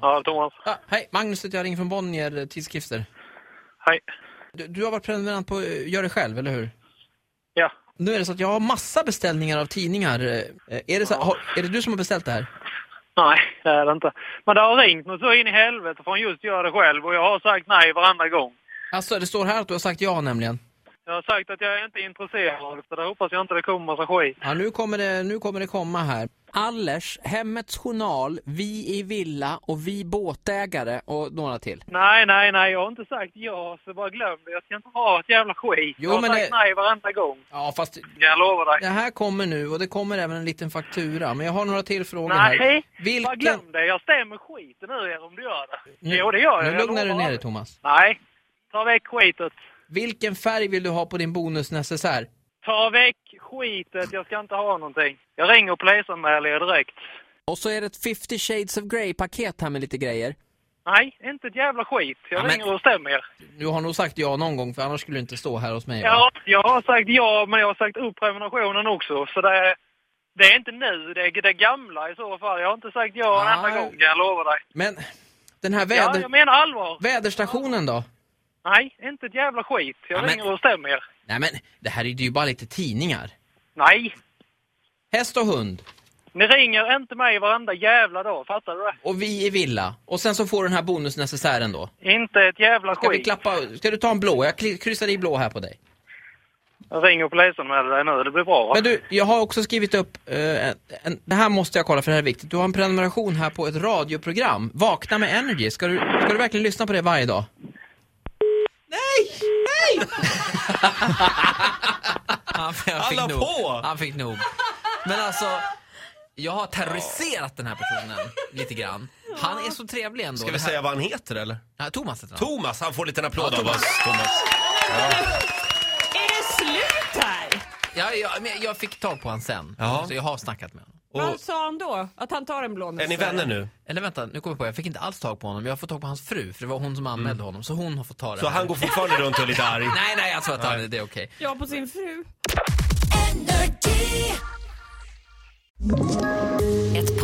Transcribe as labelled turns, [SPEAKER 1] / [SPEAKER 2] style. [SPEAKER 1] Ja, Thomas.
[SPEAKER 2] Ah, hej, Magnus heter jag ringer från Bonnier eh, Tidskrifter.
[SPEAKER 1] Hej.
[SPEAKER 2] Du, du har varit prenumerant på eh, Gör det själv, eller hur?
[SPEAKER 1] Ja.
[SPEAKER 2] Nu är det så att jag har massa beställningar av tidningar. Eh, Är det, så, har, är det du som har beställt det här?
[SPEAKER 1] Nej, det är det inte. Men det har ringt något så in i helvete från just gör det själv och jag har sagt nej varenda gång.
[SPEAKER 2] Alltså, det står här att du har sagt ja nämligen.
[SPEAKER 1] Jag har sagt att jag är inte intresserad så där hoppas jag inte det kommer massa skit.
[SPEAKER 2] Ja, nu kommer det, nu kommer det komma här.
[SPEAKER 3] Allers, Hemmets Journal, Vi i villa och Vi båtägare och några till.
[SPEAKER 1] Nej, nej, nej, jag har inte sagt ja så bara glöm det. Jag ska inte ha ett jävla skit.
[SPEAKER 2] Jo,
[SPEAKER 1] jag har
[SPEAKER 2] men
[SPEAKER 1] sagt
[SPEAKER 2] det-
[SPEAKER 1] nej varenda gång.
[SPEAKER 2] Ja, fast
[SPEAKER 1] Kan jag lova dig.
[SPEAKER 2] det här kommer nu och det kommer även en liten faktura. Men jag har några till frågor här.
[SPEAKER 1] Nej, bara
[SPEAKER 2] Vilken...
[SPEAKER 1] glöm det. Jag stämmer skiten ur er om du gör det. jo, det gör jag.
[SPEAKER 2] Nu
[SPEAKER 1] jag
[SPEAKER 2] lugnar du
[SPEAKER 1] lovar.
[SPEAKER 2] ner dig, Thomas.
[SPEAKER 1] Nej, ta väck skitet.
[SPEAKER 2] Vilken färg vill du ha på din bonusnecessär?
[SPEAKER 1] Ta väck skitet. Jag ska inte ha någonting. Jag ringer och polisanmäler er direkt.
[SPEAKER 3] Och så är det ett 50 Shades of Grey-paket här med lite grejer.
[SPEAKER 1] Nej, inte ett jävla skit. Jag
[SPEAKER 2] Ja, men-
[SPEAKER 1] ringer och stämmer er.
[SPEAKER 2] Du har nog sagt ja någon gång, för annars skulle du inte stå här hos mig. va?
[SPEAKER 1] Ja, jag har sagt ja, men jag har sagt upp prenumerationen också. Så det är, det är inte nu, det är det gamla i så fall. Jag har inte sagt ja en
[SPEAKER 2] Ah.
[SPEAKER 1] enda gång, kan jag lovar dig.
[SPEAKER 2] Men den här
[SPEAKER 1] Ja,
[SPEAKER 2] väder...
[SPEAKER 1] jag menar allvar.
[SPEAKER 2] väderstationen då?
[SPEAKER 1] Nej, inte ett jävla skit. Jag
[SPEAKER 2] Ja, men-
[SPEAKER 1] ringer och stämmer er.
[SPEAKER 2] Nej men, det här är ju bara lite tidningar.
[SPEAKER 1] Nej,
[SPEAKER 2] Häst och hund.
[SPEAKER 1] ni ringer inte mig varenda jävla dag, fattar du det?
[SPEAKER 2] Och vi i villa. Och sen så får du den här bonusnecessären då.
[SPEAKER 1] Inte ett jävla
[SPEAKER 2] Ska vi
[SPEAKER 1] skit.
[SPEAKER 2] klappa... Ska du ta en blå? Jag kli- kryssar i blå här på dig.
[SPEAKER 1] Jag ringer och polisanmäler dig nu, det blir bra. va?
[SPEAKER 2] Men du, jag har också skrivit upp... eh, en, en, det här måste jag kolla för det här är viktigt. Du har en prenumeration här på ett radioprogram. Vakna med Energy. Ska du, ska du verkligen lyssna på det varje dag?
[SPEAKER 3] Han, han, fick nog. han fick nog. Men alltså, jag har terroriserat den här personen lite grann. Han är så trevlig ändå.
[SPEAKER 4] Ska vi
[SPEAKER 3] Det här-
[SPEAKER 4] säga vad han heter eller?
[SPEAKER 3] Ja, Thomas heter han.
[SPEAKER 4] Thomas, han får en liten applåd av oss. Thomas.
[SPEAKER 5] Är det slut här?
[SPEAKER 3] Ja, jag, men jag fick tag på honom sen.
[SPEAKER 4] Ja.
[SPEAKER 3] Så jag har snackat med honom.
[SPEAKER 4] Och,
[SPEAKER 5] Vad sa han då? Att han tar en blå
[SPEAKER 4] är ni
[SPEAKER 5] näsa?
[SPEAKER 4] vänner nu?
[SPEAKER 3] Eller vänta, nu kommer jag på, jag fick inte alls tag på honom. Jag har fått tag på hans fru, för det var hon som anmälde honom. Så hon har fått ta det.
[SPEAKER 4] Mm. Så han går fortfarande runt och är lite arg?
[SPEAKER 3] Nej, nej, jag tror att han, det är okej.
[SPEAKER 5] Ja, på sin fru.
[SPEAKER 6] Ett